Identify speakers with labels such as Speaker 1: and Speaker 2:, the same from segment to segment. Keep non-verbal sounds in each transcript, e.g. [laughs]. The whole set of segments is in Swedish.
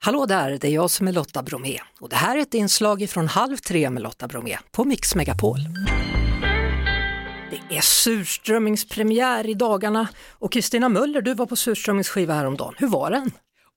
Speaker 1: Hallå där, det är jag som är Lotta Bromé och det här är ett inslag från Halv tre med Lotta Bromé på Mix Megapol. Det är surströmmingspremiär i dagarna och Kristina Möller, du var på surströmmingsskiva häromdagen. Hur var den?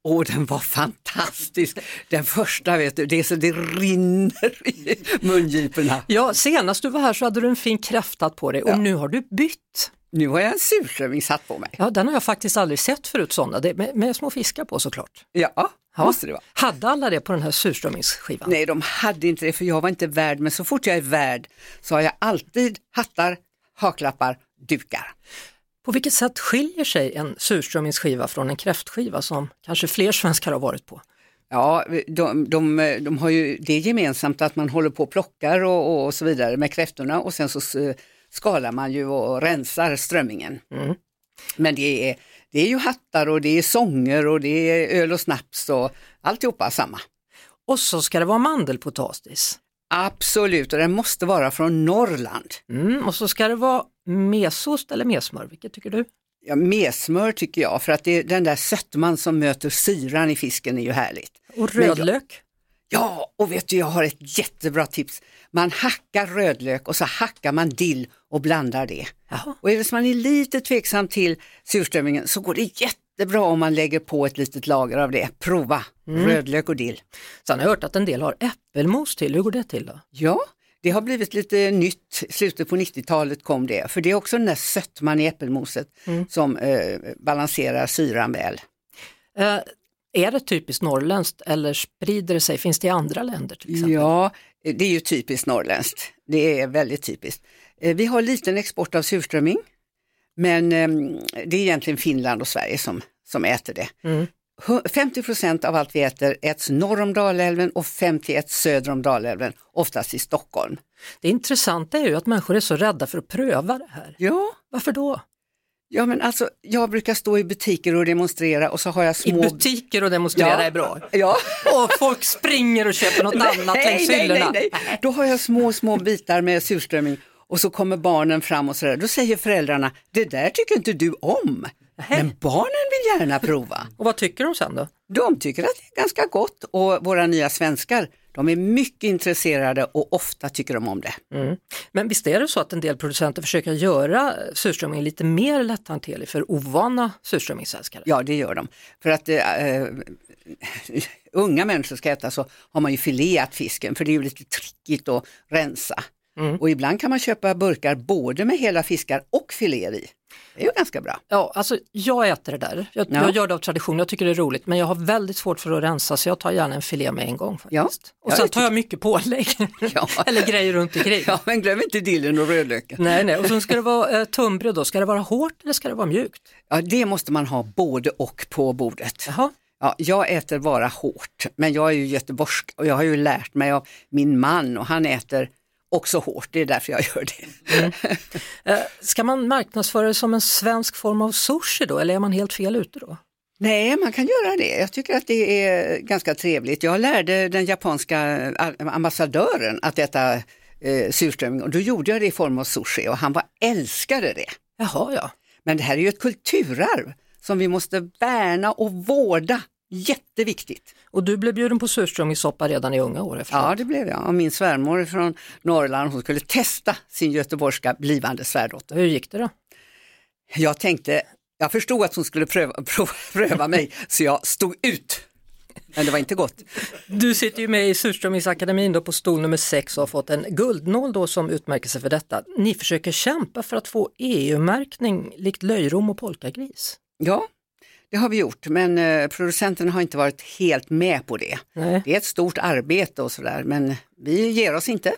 Speaker 2: Åh, den var fantastisk. Den första, vet du, det är så det rinner i mungiporna.
Speaker 1: Ja, senast du var här så hade du en fin kräftat på dig och nu har du bytt.
Speaker 2: Nu har jag en surströmmingshatt på mig.
Speaker 1: Ja, den har jag faktiskt aldrig sett förut sådana, det är med, med små fiskar på såklart.
Speaker 2: Ja,
Speaker 1: Ja.
Speaker 2: måste det vara.
Speaker 1: Hade alla det på den här surströmmingsskivan?
Speaker 2: Nej, de hade inte det för jag var inte värd, men så fort jag är värd så har jag alltid hattar, haklappar, dukar.
Speaker 1: På vilket sätt skiljer sig en surströmmingsskiva från en kräftskiva som kanske fler svenskar har varit på?
Speaker 2: Ja, de, de, de har ju det gemensamt att man håller på och plockar och, och så vidare med kräftorna och sen så s- skalar man ju och rensar strömmingen.
Speaker 1: Mm.
Speaker 2: Men det är, det är ju hattar och det är sånger och det är öl och snaps och alltihopa samma.
Speaker 1: Och så ska det vara mandelpotatis.
Speaker 2: Absolut, och den måste vara från Norrland.
Speaker 1: Mm, och så ska det vara mesost eller messmör, vilket tycker du?
Speaker 2: Ja, mesmör tycker jag, för att det är den där sötman som möter syran i fisken är ju härligt.
Speaker 1: Och
Speaker 2: Men jag-
Speaker 1: rödlök?
Speaker 2: Ja, och vet du, jag har ett jättebra tips. Man hackar rödlök och så hackar man dill och blandar det.
Speaker 1: Jaha.
Speaker 2: Och är det så man är lite tveksam till surströmmingen så går det jättebra om man lägger på ett litet lager av det. Prova rödlök och dill.
Speaker 1: Sen har jag hört att en del har äppelmos till, hur går det till då?
Speaker 2: Ja, det har blivit lite nytt. Slutet på 90-talet kom det, för det är också den där sötman i äppelmoset som eh, balanserar syran väl.
Speaker 1: Eh, är det typiskt norrländskt eller sprider det sig, finns det i andra länder till exempel?
Speaker 2: Ja, eh, det är ju typiskt norrländskt. Det är väldigt typiskt. Eh, Vi har liten export av surströmming, men ehm, det är egentligen Finland och Sverige som, som äter det.
Speaker 1: Mm.
Speaker 2: Hu- 50 procent av allt vi äter äts norr om Dalälven och 51 söder om Dalälven, oftast i Stockholm.
Speaker 1: Det intressanta är ju att människor är så rädda för att pröva det här.
Speaker 2: Ja,
Speaker 1: Varför då?
Speaker 2: ja men alltså jag brukar stå i butiker och demonstrera och så har jag
Speaker 1: I
Speaker 2: små...
Speaker 1: butiker och demonstrera
Speaker 2: Ja.
Speaker 1: är bra.
Speaker 2: Ja.
Speaker 1: Och folk springer och köper
Speaker 2: [laughs]
Speaker 1: något annat längs hyllorna.
Speaker 2: nej, nej. Då har jag små, små bitar med surströmming och så kommer barnen fram och sådär. Då säger föräldrarna, det där tycker inte du om. Men barnen vill gärna prova.
Speaker 1: Och vad tycker de sen då?
Speaker 2: De tycker att det är ganska gott och våra nya svenskar, de är mycket intresserade och ofta tycker de om det.
Speaker 1: Mm. Men visst är det så att en del producenter försöker göra surströmmingen lite mer lätthanterlig för ovana surströmmingsälskare?
Speaker 2: Ja, det gör de. För att eh, eh, unga människor ska äta så har man ju fileat fisken för det är ju lite trickigt att rensa.
Speaker 1: Mm.
Speaker 2: Och ibland kan man köpa burkar både med hela fiskar och filéer i. Det är ju ganska bra.
Speaker 1: Ja, alltså jag äter det där. Jag,
Speaker 2: Ja.
Speaker 1: jag gör det av tradition, jag tycker det är roligt, men jag har väldigt svårt för att rensa så jag tar gärna en filé med en gång. faktiskt.
Speaker 2: Ja.
Speaker 1: Och
Speaker 2: Ja,
Speaker 1: sen
Speaker 2: jag
Speaker 1: tar jag mycket pålägg
Speaker 2: Ja.
Speaker 1: [laughs] eller grejer runt omkring.
Speaker 2: Ja, men glöm inte dillen och rödlöken.
Speaker 1: Nej, nej, och sen ska det vara eh, tunnbröd då, ska det vara hårt eller ska det vara mjukt?
Speaker 2: Ja, det måste man ha både och på bordet.
Speaker 1: Jaha.
Speaker 2: Ja, jag äter bara hårt, men jag är ju göteborgsk och jag har ju lärt mig av min man och han äter också hårt, det är därför jag gör det.
Speaker 1: Eh, Ska man marknadsföra det som en svensk form av sushi då, eller är man helt fel ute då?
Speaker 2: Nej, man kan göra det. Jag tycker att det är ganska trevligt. Jag lärde den japanska eh, ambassadören att äta eh, surströmming och då gjorde jag det i form av sushi och han var älskade det.
Speaker 1: Jaha, ja.
Speaker 2: Men det här är ju ett kulturarv som vi måste värna och vårda. Jätteviktigt.
Speaker 1: Och du blev bjuden på surströmmingssoppa redan i unga år? efter.
Speaker 2: Ja, det blev jag. Och min svärmor från Norrland, hon skulle testa sin göteborgska blivande svärdotter.
Speaker 1: Hur gick det då?
Speaker 2: Jag tänkte, jag förstod att hon skulle pröva, [laughs] prova, pröva mig, så jag stod ut. Men det var inte gott.
Speaker 1: Du sitter ju med i surströmmingsakademin då på stol nummer 6 och har fått en guldnål då som utmärkelse för detta. Ni försöker kämpa för att få EU-märkning likt löjrom och polkagris.
Speaker 2: Ja, det har vi gjort, men eh, producenten har inte varit helt med på det.
Speaker 1: Nej.
Speaker 2: Det är ett stort arbete och sådär, men vi ger oss inte.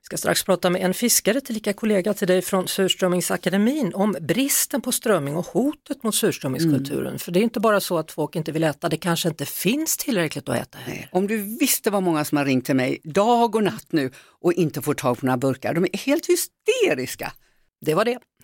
Speaker 1: Vi ska strax prata med en fiskare tillika kollega till dig från surströmmingsakademin om bristen på strömming och hotet mot surströmmingskulturen. För det är inte bara så att folk inte vill äta, det kanske inte finns tillräckligt att äta heller.
Speaker 2: Om du visste vad många som har ringt till mig dag och natt nu och inte får tag på några burkar, de är helt hysteriska.
Speaker 1: Det var det.